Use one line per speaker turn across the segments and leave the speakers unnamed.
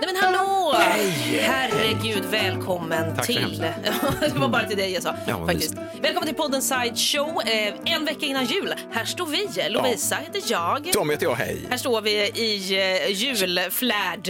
Nej men hallå! Herregud, välkommen
Tack så
till... det var bara till dig jag sa. faktiskt. Välkommen till podden Side Show. Eh, en vecka innan jul. Här står vi. Lovisa heter jag.
Tom heter jag, hej.
Här står vi i eh, julflärd.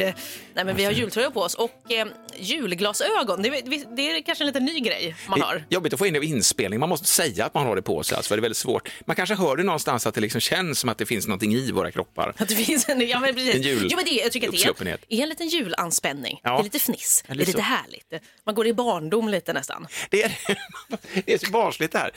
Nej men vi har jultröja på oss och eh, julglasögon. Det, det, det är kanske en liten ny grej man
Det
har.
är Jobbigt att få in det i inspelning. Man måste säga att man har det på sig. Alltså, för det är väldigt svårt. Man kanske hör det någonstans att det liksom känns som att det finns någonting i våra kroppar.
Att det finns en, ja, men precis.
En jul-
Jo, men det, jag tycker att det är,
uppsluppenhet.
är en liten julanspänning.
Ja.
Det är lite fniss. Det är
Eller
lite
så.
härligt. Man går i barndom lite nästan.
Det är, det är så barnsligt det här.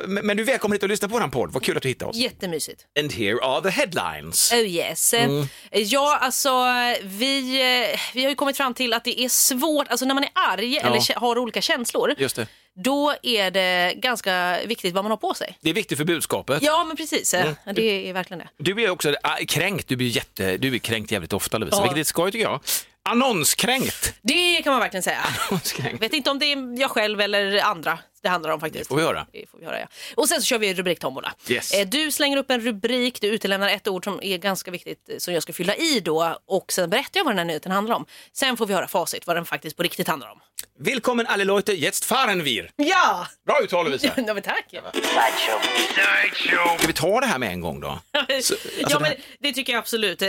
Eh, men, men du är välkommen hit och lyssna på våran podd. Vad kul att du hittade oss.
Jättemysigt.
And here are the headlines.
Oh yes.
Mm.
Ja, alltså vi, eh, vi har ju kommit fram till att det är svårt, alltså när man är arg eller kä- har olika känslor,
Just det.
då är det ganska viktigt vad man har på sig.
Det är viktigt för budskapet.
Ja, men precis.
Mm.
eh, Det är verkligen det.
Du är också eh, kränkt. Du blir, jätte, du blir kränkt jävligt ofta, Lovisa,
Ja.
vilket är skoj tycker jag. Annonskränkt.
Det kan man verkligen säga.
Annonskränkt.
Vet inte om det är jag själv eller andra det handlar om faktiskt.
får vi höra.
Det får vi höra ja. Och sen så kör vi rubriktombola.
Yes.
Eh, Du slänger upp en rubrik, du utelämnar ett ord som är ganska viktigt eh, som jag ska fylla i då och sen berättar jag vad den här nyheten handlar om. Sen får vi höra facit, vad den faktiskt på riktigt handlar om.
Välkommen alle Leute, jetzt fahren wir.
Ja!
Bra uttal, Lovisa.
Ja, men tack.
Ska vi ta det här med en gång då?
ja,
alltså, det
men
här-
det tycker jag absolut. Eh,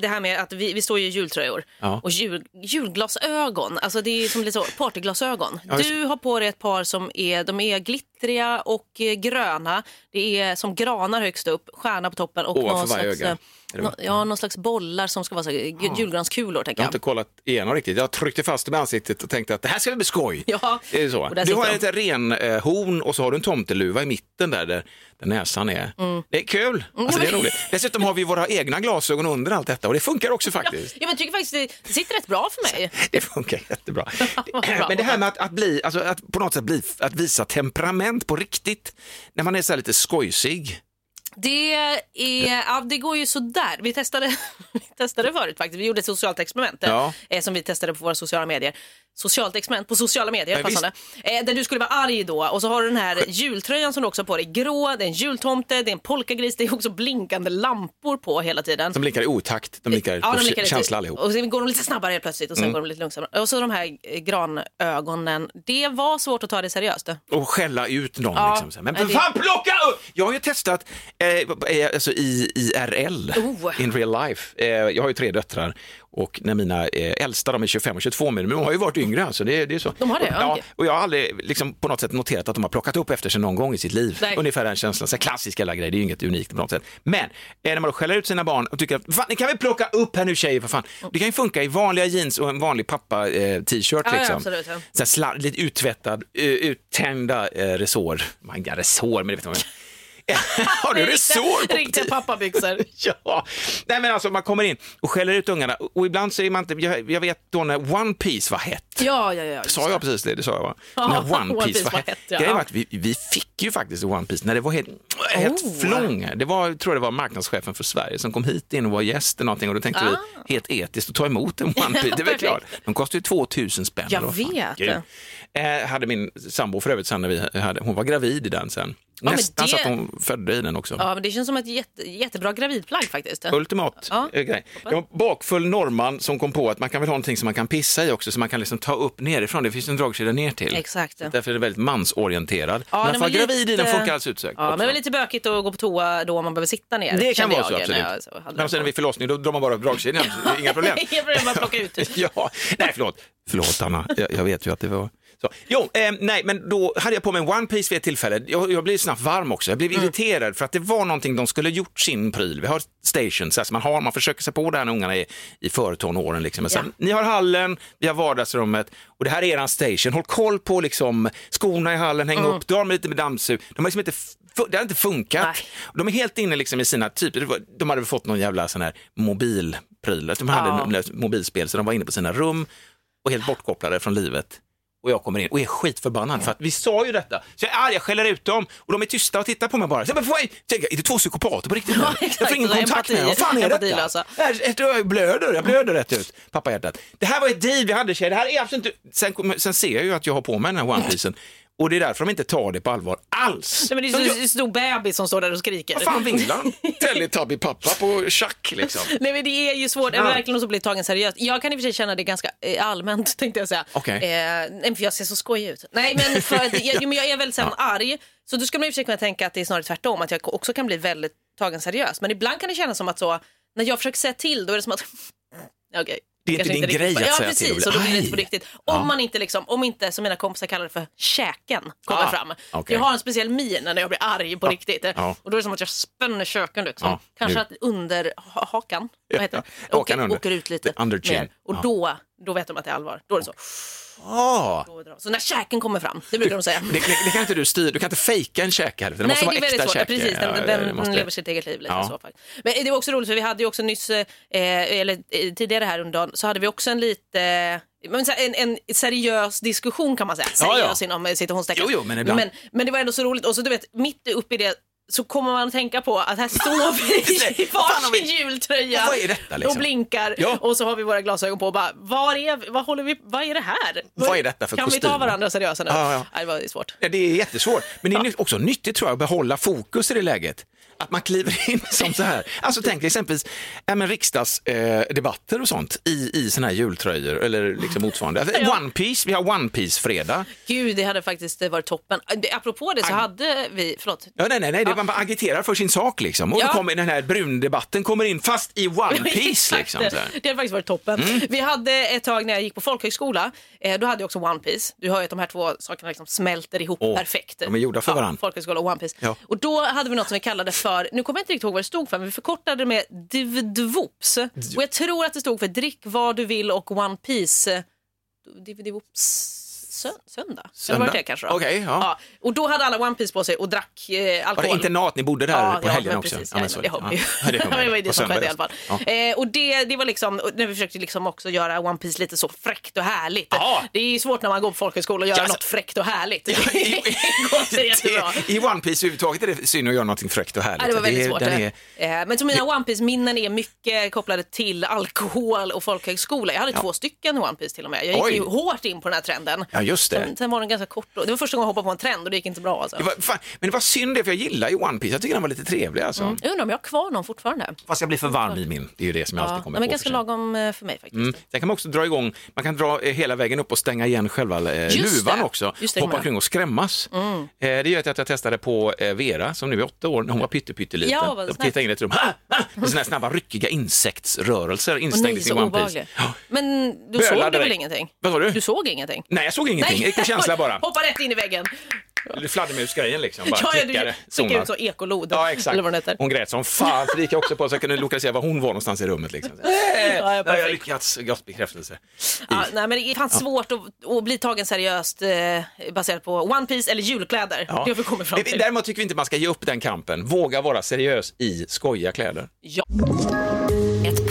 Det här med att vi, vi står ju i jultröjor
Ja.
och jul, julglasögon. Alltså det är som lite så partyglasögon.
Ja,
Du har på dig ett par som är, de är glittriga och eh, gröna. Det är som granar högst upp, stjärna på toppen och
Ovanför
någon
varje
slags,
öga.
eh,
Eller
nå-
vad?
ja, någon slags bollar som ska vara så, här, gu- julgranskulor. Tänker
Jag har
jag.
inte kollat igenom riktigt. Jag tryckte fast dem i ansiktet och tänkte att det här ska bli skoj.
Ja,
Det är så.
och där
Du har
sitter
ett renhorn och så har du en tomteluva i mitten där, där, där näsan är.
Mm.
Det är kul. Alltså, det är roligt. Dessutom har vi våra egna glasögon under allt detta och det funkar också faktiskt.
Ja, men jag tycker faktiskt det, det sitter rätt bra för mig.
Det funkar jättebra.
Vad bra.
Men det här med att, att bli, alltså att på något sätt bli, att visa temperament på riktigt, när man är så här lite skojsig.
Det, är, ja, det går ju sådär. Vi testade, vi testade förut faktiskt. Vi gjorde ett socialt experiment eh,
Ja.
eh, som vi testade på våra sociala medier. Socialt experiment på sociala medier,
Ja,
passande. Eh, där du skulle vara arg då och så har du den här jultröjan som du också har på dig. Grå, det är en jultomte, det är en polkagris, det är också blinkande lampor på hela tiden.
De blinkar i otakt, de blinkar på
blickar lite-
känsla allihop. Mm.
Och sen går de lite snabbare helt plötsligt och sen går de lite långsammare. Och så de här eh, granögonen. Det var svårt att ta det seriöst.
och skälla ut någon.
Ja.
Liksom, så här. men
Ja,
för
det-
fan plocka upp! Jag har ju testat eh, eh, alltså i IRL,
Oh.
in real life. Eh, jag har ju tre döttrar och när mina eh, äldsta, de är 25 och 22 men de har ju varit yngre. Alltså, det, det är så.
De har det, ja,
ja,
okej.
och jag har aldrig liksom, på något sätt noterat att de har plockat upp efter sig någon gång i sitt liv.
Nej.
Ungefär den känslan. Så här, klassisk alla grejer, det är ju inget unikt på något sätt. Men eh, när man då skäller ut sina barn och tycker att fan, ni kan väl plocka upp här nu tjejer för fan. Det kan ju funka i vanliga jeans och en vanlig pappa-t-shirt.
Ja, ja,
liksom.
absolut, ja.
Så här slar- lite uttvättad, eh, uttända eh, resår. Man, ja, resår, men det vet man väl. Har du resår?
Riktiga-
på-
Riktiga pappabyxor.
Ja, nej men alltså man kommer in och skäller ut ungarna och ibland så är man inte, jag, jag vet då när One Piece var hett.
Ja, ja, ja. just
Sa jag precis det? Det sa jag va?
Ja,
när One Piece, var hett.
ja.
Grejen var att vi, vi fick ju faktiskt One Piece när det var helt, helt
Oh.
flång. Det var, jag tror det var marknadschefen för Sverige som kom hit in och var gäst eller någonting och då tänkte
Ah.
vi, helt etiskt att ta emot en One Piece, det är väl
Perfekt.
klart. De kostar ju 2000 spänn.
Jag
Vad fan,
vet.
gud. Eh, hade min sambo för övrigt sen när vi hade, hon var gravid i den sen.
men
Nästan så
det-
att hon födde i den också.
Ja, men det känns som ett jätte, jättebra gravidplagg faktiskt.
Ultimat
Ja.
eh, grej. Det var en bakfull norrman som kom på att man kan väl ha någonting som man kan pissa i också, så man kan liksom ta upp nerifrån. Det finns en dragkedja ner till.
Exakt.
Så Därför är det väldigt mansorienterad.
Ja,
men
den
att
var
vara gravid i den
lite-
funkar alldeles utsökt.
Ja, men
också.
det är lite bökigt att gå på toa då om man behöver sitta ner.
det kan
kände
vara så,
jag,
absolut.
när jag så hade
men sen vid förlossning, då drar man bara upp dragkedjan. så det är Inga problem.
Inga problem, bara plocka ut det.
ja, nej förlåt. Förlåt Anna, jag, jag vet ju att det var så. Jo, eh, nej, men då hade jag på mig en One Piece vid ett tillfälle. Jag, jag blev snabbt varm också. Jag blev
Mm.
irriterad för att det var någonting de skulle gjort sin pryl. Vi har stations, alltså man, har, man försöker sig på det här när ungarna är i förtonåren. Liksom. Men sen, Ni har hallen, vi har vardagsrummet och det här är eran station. Håll koll på liksom, skorna i hallen, häng
Mm.
upp, dra dem lite med dammsug. De har liksom inte f- det har inte funkat.
Nej.
De är helt inne liksom i sina typer, det var- de hade väl fått någon jävla sån här mobilpryl, de hade ja.
Ja.
mobilspel så de var inne på sina rum och helt bortkopplade från livet. Och jag kommer in och är skitförbannad för att vi sa ju detta. Så jag är arg, jag skäller ut dem och de är tysta och tittar på mig bara. Så jag bara, får jag, tänker, är det två psykopater på riktigt? nu?
Ja, exakt.
jag får ingen
Så det är
kontakt med dem. Vad
empati- alltså.
fan är detta?
empatilösa.
Här- ett- Jag blöder, jag blöder rätt ut. Pappa hjärtat. Det här var ett deal vi hade tjejer. Det här är absolut inte... sen, kommer- sen ser jag ju att jag har på mig den här onepiecen och det är därför de inte tar det på allvar alls.
Nej, men det
De
är
gör-
ju en stor bebis som står där och skriker.
Vad fan vill han? Teletubby-pappa på tjack liksom.
Nej men det är ju svårt, ja. verkligen att bli tagen seriöst. Jag kan i och för sig känna det ganska eh, allmänt tänkte jag säga.
Okej.
Eh, nej, men för jag ser så skojig ut. Nej men för att, jag, jo, men jag är väldigt sällan arg. Så då skulle man i och för sig kunna tänka att det är snarare tvärtom, att jag också kan bli väldigt tagen seriöst. Men ibland kan det kännas som att så, när jag försöker säga till då är det som att Ja, okej.
Det är inte
Kanske
din grej
riktigt-
att säga
Ja
till och
precis,
bli-
och då blir det
Aj.
inte på riktigt. Om
Ja.
man inte liksom, om inte som mina kompisar kallar det för käken kommer
Ah,
fram.
okej.
Jag har en speciell min när jag blir arg på riktigt.
Ja.
Och då är det som att jag spänner köken liksom.
Ja,
Kanske
nu.
att under ha- hakan, vad heter det?
hakan
Åker,
under.
åker ut lite
The under chin.
mer. Och
Ja.
då, då vet de att det är allvar. Då är det så.
Ah.
Då drar- Så när käken kommer fram, det brukar de säga.
Det, det, det kan inte du styra, du kan inte fejka en käke. Det
Nej,
måste
det
vara
är väldigt
äkta
svårt. Ja,
käke.
Precis,
Ja,
den,
det-
den
det måste-
lever sitt eget liv lite
Ja.
så. faktiskt. Men det är också roligt för vi hade ju också nyss, eh, eller eh, tidigare här under dagen, så hade vi också en lite eh, men så här, en, en seriös diskussion kan man säga.
Ja, ja.
Seriös inom eh, citationstecken.
Jo, jo, men ibland.
men, men det var ändå så roligt. Och så du vet, mitt uppe i det så kommer man att tänka på att här står vi i
Vad fan har vi-
varsin jultröja
Vad är detta, liksom?
och blinkar
Ja.
och så har vi våra glasögon på och bara, var är, vad, håller vi, vad är det här?
Vad är detta för
Kan vi ta
kostym?
varandra seriösa nu?
Ja, ja.
Nej, det var ju svårt.
Ja, det är jättesvårt, men det är ny- också nyttigt tror jag att behålla fokus i det läget. Att man kliver in som så här. Alltså tänk exempelvis ja, men riksdagsdebatter eh, debatter och sånt i, i såna här jultröjor eller liksom motsvarande. Alltså,
Ja.
One Piece, vi har One Piece-fredag.
Gud, det hade faktiskt varit toppen. Eh, Apropå det så hade vi, förlåt.
Ja, nej, nej, nej, det, man bara agiterar för sin sak liksom. Och
Ja.
då kommer den här brundebatten kommer in fast i One Piece
Exakt.
liksom. Så här. Mm.
Det hade faktiskt varit toppen. Vi hade ett tag när jag gick på folkhögskola, eh, då hade jag också One Piece. Du hör ju att de här två sakerna liksom smälter ihop
Åh,
perfekt.
de är gjorda för varandra.
folkhögskola och One Piece.
Ja.
Och då hade vi något som vi kallade för, nu kommer jag inte riktigt ihåg vad det stod för, men vi förkortade det med Divdvops. Och jag tror att det stod för drick vad du vill och One Piece eh, Divdvops. Sö- söndag? Eller var det
Söndag?
det kanske? då?
Okej, ja.
Och då hade alla One Piece på sig och drack eh,
Var
alkohol.
det internat ni bodde där på
ja,
helgen
men
också?
Precis,
Ja, men så
det
är det.
har vi ju.
Ja,
det,
kommer
var ju
jag.
det
Och
som skedde i alla
söndags.
fall. Eh, och det, det var liksom, och när vi försökte liksom också göra One Piece lite så fräckt och härligt.
Ja.
Det är ju svårt när man går på folkhögskola att göra
Ja, alltså-
något fräckt och härligt.
Ja,
det går inte jättebra.
I One Piece överhuvudtaget är det synd att göra någonting fräckt och härligt.
Ja, det var väldigt
är-
svårt.
den är-
Eh, Men så mina One piece minnen är mycket kopplade till alkohol och folkhögskola. Jag hade två stycken One Piece till och med. Jag gick
Oj.
ju hårt in på den här trenden.
Ja, just det.
Sen, sen var den ganska kort. Då. Det var första gången jag hoppade på en trend och det gick inte bra. Alltså.
Det var, fan, men det var synd det, för jag gillar ju One Piece. Jag tycker den var lite trevlig alltså.
Jag undrar om jag har kvar någon fortfarande.
Fast jag blir för varm i min. Det är ju det som jag
Ja,
alltid kommer
men
på.
ganska
för sig.
lagom eh, för mig faktiskt.
Mm. Sen kan man också dra igång, man kan dra eh, hela vägen upp och stänga igen själva eh,
Just
luvan
det.
också.
Just det,
Hoppa
Ingmar. Mm.
omkring och skrämmas. Eh, det gör att jag testade på eh, Vera som nu är åtta år, när hon var pytte- pytteliten.
Ja, vad
Då
snällt.
tittade in i ett rum, ha, ha! Och sådana här snabba ryckiga insektsrörelser
Och
instängd i
ni
sin
så
One Piece.
obehaglig.
Ja.
Men du
Böla
såg du väl
direkt.
ingenting?
Vad sa du?
Du såg ingenting?
Nej, jag såg ingenting. Jag fick en känsla bara.
Hoppa rätt in i väggen.
Fladdermusgrejen liksom, bara
Ja, ja, du
klickade.
skickar
Zonade.
ut så ekolod.
Ja, exakt.
Eller vad den heter.
Hon grät som fan, så det gick jag också på så jag kunde lokalisera var hon var någonstans i rummet. Liksom. Så, "Eh,
Ja, ja,
jag har
perfekt.
lyckats, gott bekräftelse.
Ja, nej, men det är fan svårt att, att bli tagen seriöst eh, baserat på One Piece eller julkläder. Det har vi kommit fram
Men
till.
Däremot tycker vi inte man ska ge upp den kampen. Våga vara seriös i skojiga kläder.
Ett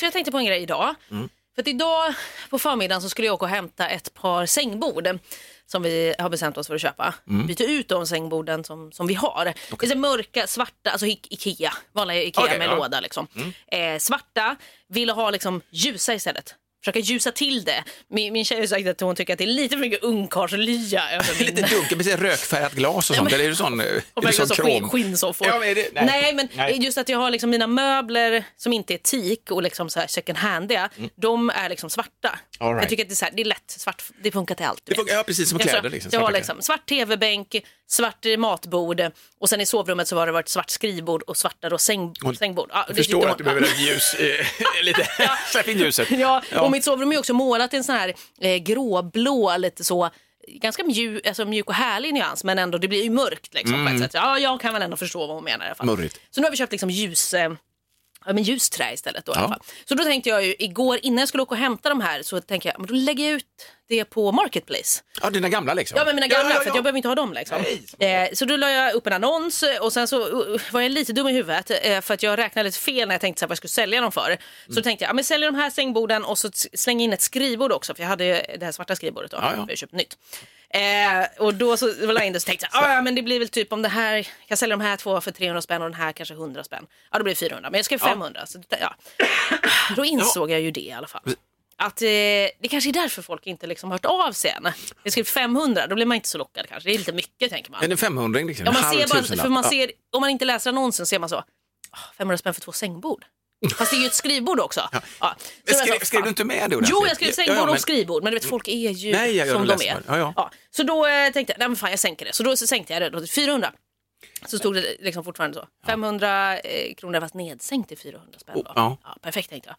Så jag tänkte på en grej idag.
Mm.
För att idag på förmiddagen så skulle jag åka och hämta ett par sängbord som vi har bestämt oss för att köpa.
Mm.
Byta ut de sängborden som, som vi har. Det är så här mörka, svarta, alltså I- Ikea, vanliga Ikea
Okej,
med
ja. Mm.
låda. Liksom. Eh, svarta, ville ha liksom ljusa istället. Försöka ljusa till det. Min, min tjej har sagt att hon tycker att det är lite för mycket ungkarlslya över min...
Lite dunkel, precis rökfärgat glas och sånt. Eller är du sån, eh, är
Mm. Och
du
verkligen
sån
så
krom?
skinn, skinnsoffor.
Ja, men är det,
nej.
nej.
men
Nej.
just att jag har liksom mina möbler som inte är teak och liksom så här second handiga, de är liksom svarta.
Mm. All right.
Jag tycker att det är, så här, det är lätt, svart, det funkar till allt. du
Det funkar-
vet.
ja, precis som
Jag
kläder,
tror-
liksom,
jag har
svarta
liksom svart tv-bänk, svart matbord och sen i sovrummet så har det varit svart skrivbord och svarta då säng, sängbord. Ja, det
Jag förstår
tyckte
att du
hon-
behöver ett ljus, eh, lite, släpp in ljuset.
Ja,
Ja.
och mitt sovrum är ju också målat i en sån här eh, gråblå, lite så ganska mjuk, alltså mjuk och härlig nyans men ändå det blir ju mörkt liksom, på ett sätt. Ja, jag kan väl ändå förstå vad hon menar i alla fall.
Mm. Murrigt.
Så nu har vi köpt liksom ljus, eh, ja, men ljusträ istället. Då, i
Ja.
alla fall. Så då tänkte jag ju igår innan jag skulle åka och hämta de här så tänkte jag men då lägger jag ut det på Marketplace.
Ja, dina gamla liksom.
Ja men mina gamla
ja, ja.
för att jag behöver inte ha dem liksom. Eh, så då la jag upp en annons och sen så uh, var jag lite dum i huvudet eh, för att jag räknade lite fel när jag tänkte så här, vad jag skulle sälja dem för. Så
Mm.
tänkte jag, ja, men säljer de här sängborden och så t- slänger in ett skrivbord också för jag hade ju det här svarta skrivbordet då,
Ja, ja.
jag har köpt nytt. Eh, och då så la jag in det och så tänkte jag, "Ah, ja men det blir väl typ om det här, jag kan sälja de här två för 300 spänn och den här kanske 100 spänn. Ja då blir det 400 men jag skrev 500. Så, det- ja. Då insåg jag ju det i alla fall. Att eh, det kanske är därför folk inte liksom hört av sig än. Jag skrev 500, då blir man inte så lockad kanske. Det är lite mycket tänker man.
En 500 liksom.
Ja, man
en halv
ser bara,
tusenlapp.
för man
Ja.
ser, om man inte läser annonsen ser man så, "Ah, 500 spänn för två sängbord. Fast det är ju ett skrivbord också. Ja. Så
Men
jag
skrev,
sa,
skrev du
"Fan."
inte med det ordentligt?
Jo, jag skrev sängbord
men-
och skrivbord, men du vet folk är ju
Nej, jag gör
som
det
de är.
läsbar. Ja, ja.
Så då eh, tänkte jag, nej men fan jag sänker det. Så då så sänkte jag det då till 400. Så stod det liksom fortfarande så. 500 eh, kronor fast nedsänkt till 400 spänn då.
Oh, ja.
perfekt tänkte jag.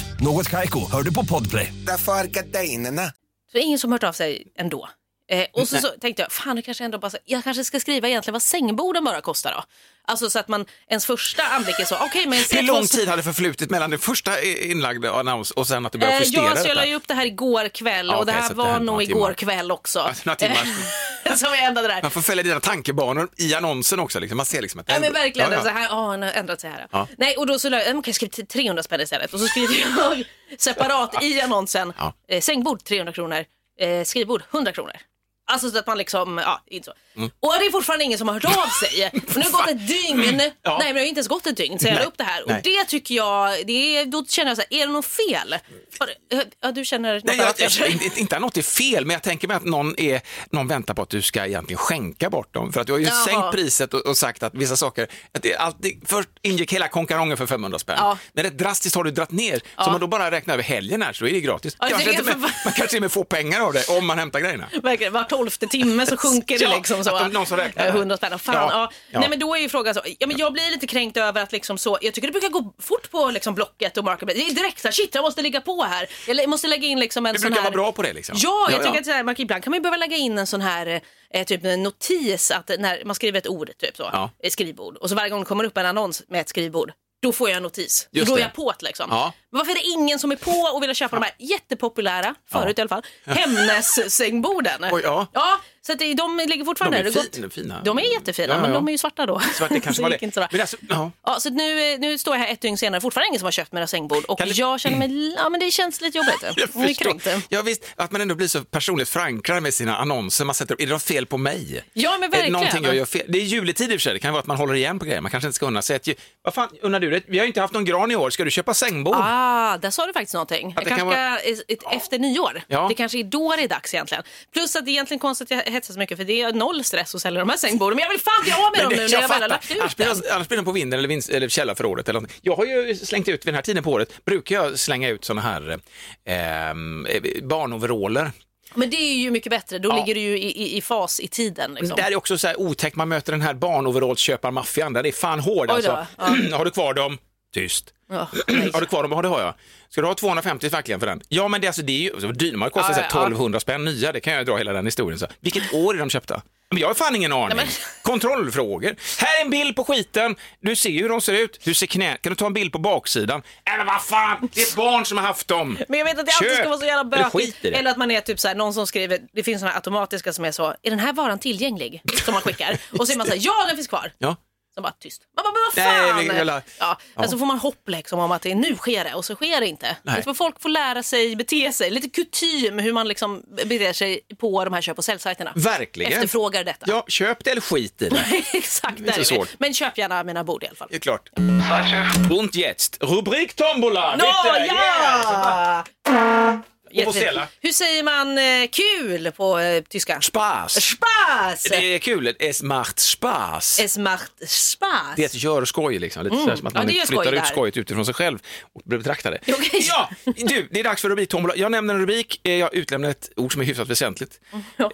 Något Kaiko, hör du på Podplay.
Därför är gardinerna.
Så det är ingen som hört av sig ändå. Eh, och så, så tänkte jag, fan jag kanske ändå bara, jag kanske ska skriva egentligen vad sängborden bara kostar då. Alltså så att man, ens första anblick är så, okej men...
Hur
jag
lång
får-
tid hade förflutit mellan den första inlagda annons och sen att du började
Eh,
justera
ja, så jag la
detta?
ju upp det här igår kväll
Ja,
och det
okej,
här
så det
var
här är
nog
några
igår
timmar.
kväll också.
Ja, några timmar.
Eh, som jag ändrade där.
Man får följa dina tankebanor i annonsen också. Liksom. Man ser liksom att det
Ja men
ändå-
verkligen, Alltså,
Ja, ja.
Så här, ja, han har ändrat sig här.
Ja.
Nej, och då så la jag, "Mm, kan jag skriva till 300 spänn istället och så skriver jag separat i annonsen,
Ja.
eh, sängbord 300 kronor, eh, skrivbord 100 kronor. Alltså så att man liksom, ja, inte så.
Mm.
Och det är fortfarande ingen som har hört av sig. Och nu har det gått ett dygn,
Ja.
nej men det har ju inte ens gått ett dygn så jag la
Nej.
upp det här. Och
Nej.
det tycker jag, det är, då känner jag så här, är det något fel? Har du- Ja, du känner något
Nej,
annat
jag,
kanske?
jag, inte, inte att något är fel, men jag tänker mig att någon, är, någon väntar på att du ska egentligen skänka bort dem. För att du har ju
Jaha.
sänkt priset och, och sagt att vissa saker, att det, alltid, först ingick hela konkarongen för 500 spänn,
Ja.
men rätt drastiskt har du dratt ner. Så om man då bara räknar över helgen här så är det gratis.
Ja, det
kanske
är
inte med,
för-
man kanske till och med får pengar av det om man hämtar grejerna.
Verkligen, var tolfte timme så sjunker det
Ja,
liksom. Så,
att de- någon som räknar.
Eh, 100 spänn, fan. Ja.
Ja, ja.
Nej men då är ju frågan så, ja, men jag blir lite kränkt över att liksom så, jag tycker det brukar gå fort på liksom Blocket och Marketplace. Det är direkt såhär, shit jag måste ligga på här. Jag lä- måste lägga in liksom en
Du
sån
brukar
här...
vara bra på det liksom.
Ja, jag
Ja,
tycker
ja.
att så här, man, ibland kan man ju behöva lägga in en sån här eh, typ en notis att när man skriver ett ord, typ så,
Ja.
ett skrivbord. Och så varje gång det kommer upp en annons med ett skrivbord, då får jag en notis.
Just
då är
det.
jag på't liksom.
Ja.
Men varför är det ingen som är på och vill köpa de här jättepopulära, förut i alla fall, Hemnes-sängborden?
Oj, ja.
så att det- de ligger fortfarande
De är
där. Det har gått-
fin- fina.
De är jättefina,
Ja, ja,
men
ja.
de är ju svarta då.
Så att det kanske
Så
var
gick
det.
inte sådär.
Men alltså, ja.
Ja, så att nu, eh, nu står jag här ett dygn senare, fortfarande ingen som har köpt mina sängbord och
Kan du-
jag känner mig, ja men det känns lite jobbigt. Jag,
Jag
är
förstår.
kränkt.
Ja, visst, att man ändå blir så personligt förankrad med sina annonser. Man sätter, är det något fel på mig?
Ja, men
Är det
verkligen.
någonting jag gör fel? Det är juletid i och för sig, det kan vara att man håller igen på grejer. Man kanske inte ska unna sig ett ju- Vad fan unnar du dig? Vi har ju inte haft någon gran i år, ska du köpa sängbord?
Ah, där sa du faktiskt någonting. Jag
det
kanske
kan vara-
ska, ett, ett, efter nyår.
Ja.
Det kanske är då det är dags egentligen. Plus att det är egentligen konstigt att jag hetsar så mycket för det är noll stress att sälja de här sängborden. Men jag vill fan bli av med
Men
dem
det-
nu när jag väl
fattar.
har lagt ut
annars, blir de, annars blir de på vinden eller, vinst, eller källarförrådet. Eller något. jag har ju slängt ut, vid den här tiden på året, brukar jag slänga ut sådana här eh, eh, barnoveraller.
Men det är ju mycket bättre. Då
Ja.
ligger du ju i, i, i fas i tiden. Liksom.
Det här är också så här otäckt, man möter den här barnoverallsköparmaffian, den är fan hård
Oj då,
alltså. har du kvar dem? Tyst.
Ja,
har du kvar dem? Ja, det har jag. Ska du ha 250 verkligen för den? Ja, men det, är alltså, det är ju så dyrt. Man kostar
Ja,
så
ja,
här
ja.
1200 spänn nya. Det kan jag dra hela den historien. Så. Vilket år är de köpta? Men jag har fan ingen aning.
Nej, men-
Kontrollfrågor. Här är en bild på skiten. Du ser ju hur de ser ut. Du ser knä. Kan du ta en bild på baksidan? Nej, men vad fan! Det är ett barn som har haft dem.
Men jag vet att det alltid
Köp!
ska vara så jävla
Eller skit
bökigt.
i det.
Eller, att man är typ så här, någon som skriver, det finns såna här automatiska som är så, är den här varan tillgänglig? Som man skickar. Och så är man så här, ja den finns kvar.
Ja.
Så bara tyst. Man bara, men vad
Nej,
fan!
men jävla-
ja.
Ja.
Men så får man hopp liksom om att det är, nu sker det och så sker det inte.
Nej.
Vet du vad folk får lära sig bete sig, lite kutym hur man liksom beter sig på de här köp och säljsajterna.
Verkligen.
Efterfrågar detta.
Ja, köp det eller skit i det.
Exakt,
Det är inte
där är vi.
svårt.
Men köp gärna mina bord i alla fall.
Det är klart. Und jetzt, Rubrik Tombola!
Nå,
Bitte,
ja!
Vuvuzela.
Hur säger man eh, kul på eh, tyska?
Spas.
Spaß!
Det är kul. Es macht spas.
Es macht Spaß.
Det är ett gör skoj liksom, lite sådär som att
Mm. Ja,
man
det är skoj
flyttar
där.
ut skojet utifrån sig själv och blir betraktade.
Okej.
Ja, du, det är dags för rubriktombola. Jag nämner en rubrik, eh, jag utlämnar ett ord som är hyfsat väsentligt.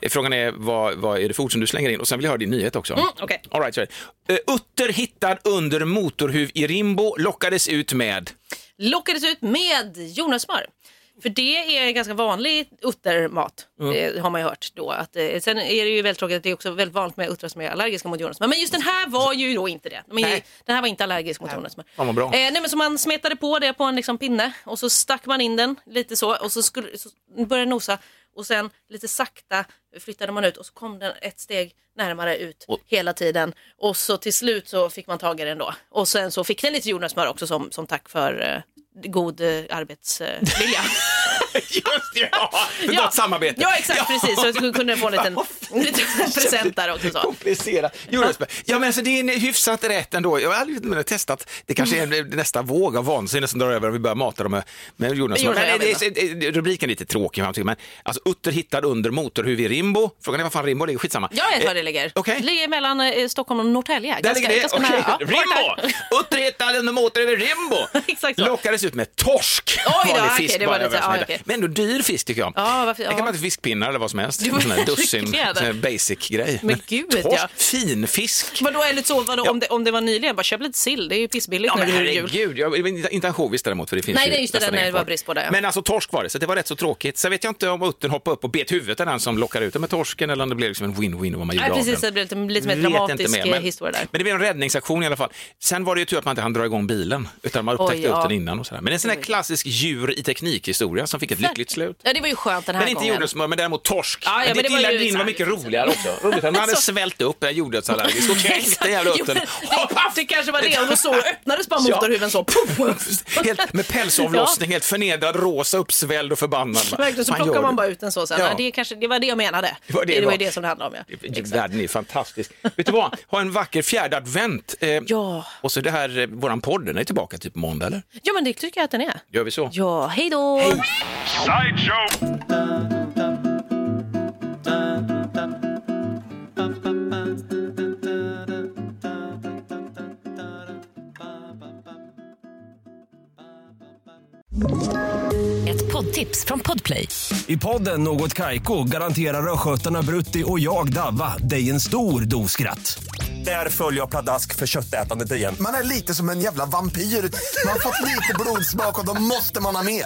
Eh, Frågan är vad, vad är det för ord som du slänger in och sen vill jag höra din nyhet också. Mm,
okej.
All right, sorry. Eh, Utter hittad under motorhuv i Rimbo lockades ut med
Lockades ut med jordnötssmör. För det är en ganska vanlig uttermat. Det har man ju hört då. Att, eh, sen är det ju väldigt tråkigt att det är också väldigt vanligt med uttrar som är allergiska mot jordnötssmör. Men just den här var ju då inte det. Men
Nej.
Den här var inte allergisk mot jordnötssmör.
Fan, vad bra.
Eh, nej, men så man smetade på det på en liksom pinne och så stack man in den lite så och så, skulle, så började den nosa och sen lite sakta flyttade man ut och så kom den ett steg närmare ut hela tiden och så till slut så fick man tag i den då och sen så fick den lite jordnötssmör också som, som tack för eh, god eh, arbetsvilja.
Just det, ja! Något samarbete.
Ja exakt precis, så jag kunde få en liten, liten present där också. Så.
Komplicerat. Jordnötssmör. Ja, men så det är en hyfsat rätt ändå. Jag har aldrig men, testat. Det kanske
Mm.
är nästa våg av vansinne som drar över om vi börjar mata dem med, med jordnötssmör.
Jordnöt,
Men, eh,
jag vet
det- det- Rubriken är lite tråkig, men jag tycker, men alltså utter hittad under motorhuv i Rimbo. Frågan är vad fan Rimbo ligger, skitsamma.
Jag vet var det
Eh,
ligger.
Okej.
Det ligger mellan eh, Stockholm och Norrtälje.
Där ligger det.
ganska
Okej.
nära. Ja, vart
Rimbo!
där.
Utter hittad under motorhuv i Rimbo.
Exakt så.
Lockades ut med torsk.
Oj då,
Var
okej,
fisk
det var
bara
lite-
över som
ja,
hette.
okej.
Men ändå dyr fisk tycker jag.
Ja, varför-
Jag kan
ja.
man till fiskpinnar eller vad som helst.
Du-
En sån här dussin,
Verkligen.
sån här basic grej.
Men gud,
torsk,
ja.
fin fisk.
Vadå, eller så, vadå,
Ja.
om, det, om det var nyligen, bara köp lite sill, det är ju pissbilligt
Ja,
nu
men
vid jul.
herregud, jag, men inte- inte ansjovis däremot för det finns
Nej,
ju
det är just det,
nästan
där när
ingen
det var
kvar.
brist på det, ja.
Men alltså torsk var det, så det var rätt så tråkigt. Sen vet jag inte om uttern hoppade upp och bet huvudet av den som lockade ut den med torsken eller om det blev liksom en win-win vad man gjorde
Nej, precis,
av den.
det blev lite, lite mer
Vet inte
dramatisk
mer,
eh, historia där.
Men det blev en räddningsaktion i alla fall. Sen var det ju tur att man inte hann dra igång bilen, utan man upptäckte
Oj, ja.
uttern innan och sådär. Men en sån här klassisk djur i teknikhistoria som fick ett lyckligt slut.
Ja, det var ju skönt den här
Men inte
gången.
jordnötssmör, men däremot torsk.
Ja, ja,
men
men
ditt
det var
lilla
ju
din var
sant.
mycket roligare också. Roligt att man hade svällt upp, jag är jordnötsallergisk och kränkt den jävla
Jo,
uttern.
men det, det kanske var det, och då så öppnades bara motorhuven så. Puff.
helt, med pälsavlossning, helt förnedrad, rosa, uppsvälld och förbannad.
Verkligen, så
Fan,
plockar
gör
man
du?
bara ut den så sen.
Ja.
Ja. Det, kanske, det var det jag menade.
Det var det det
var
var.
ju det som det handlade om. Ja.
Världen är fantastisk. Vet du vad? Ha en vacker fjärde advent. Eh,
Ja.
Och så det här, eh, våran podd, den är tillbaka typ måndag eller?
ja, men det tycker jag att den är.
Gör vi så?
Ja, hej då!
Ett poddtips från Podplay.
I podden Något Kaiko garanterar östgötarna Brutti och jag, Davva, dig en stor dos skratt. Där följer jag pladask för köttätandet igen.
Man är lite som en jävla vampyr. Man har fått lite blodsmak och då måste man ha mer.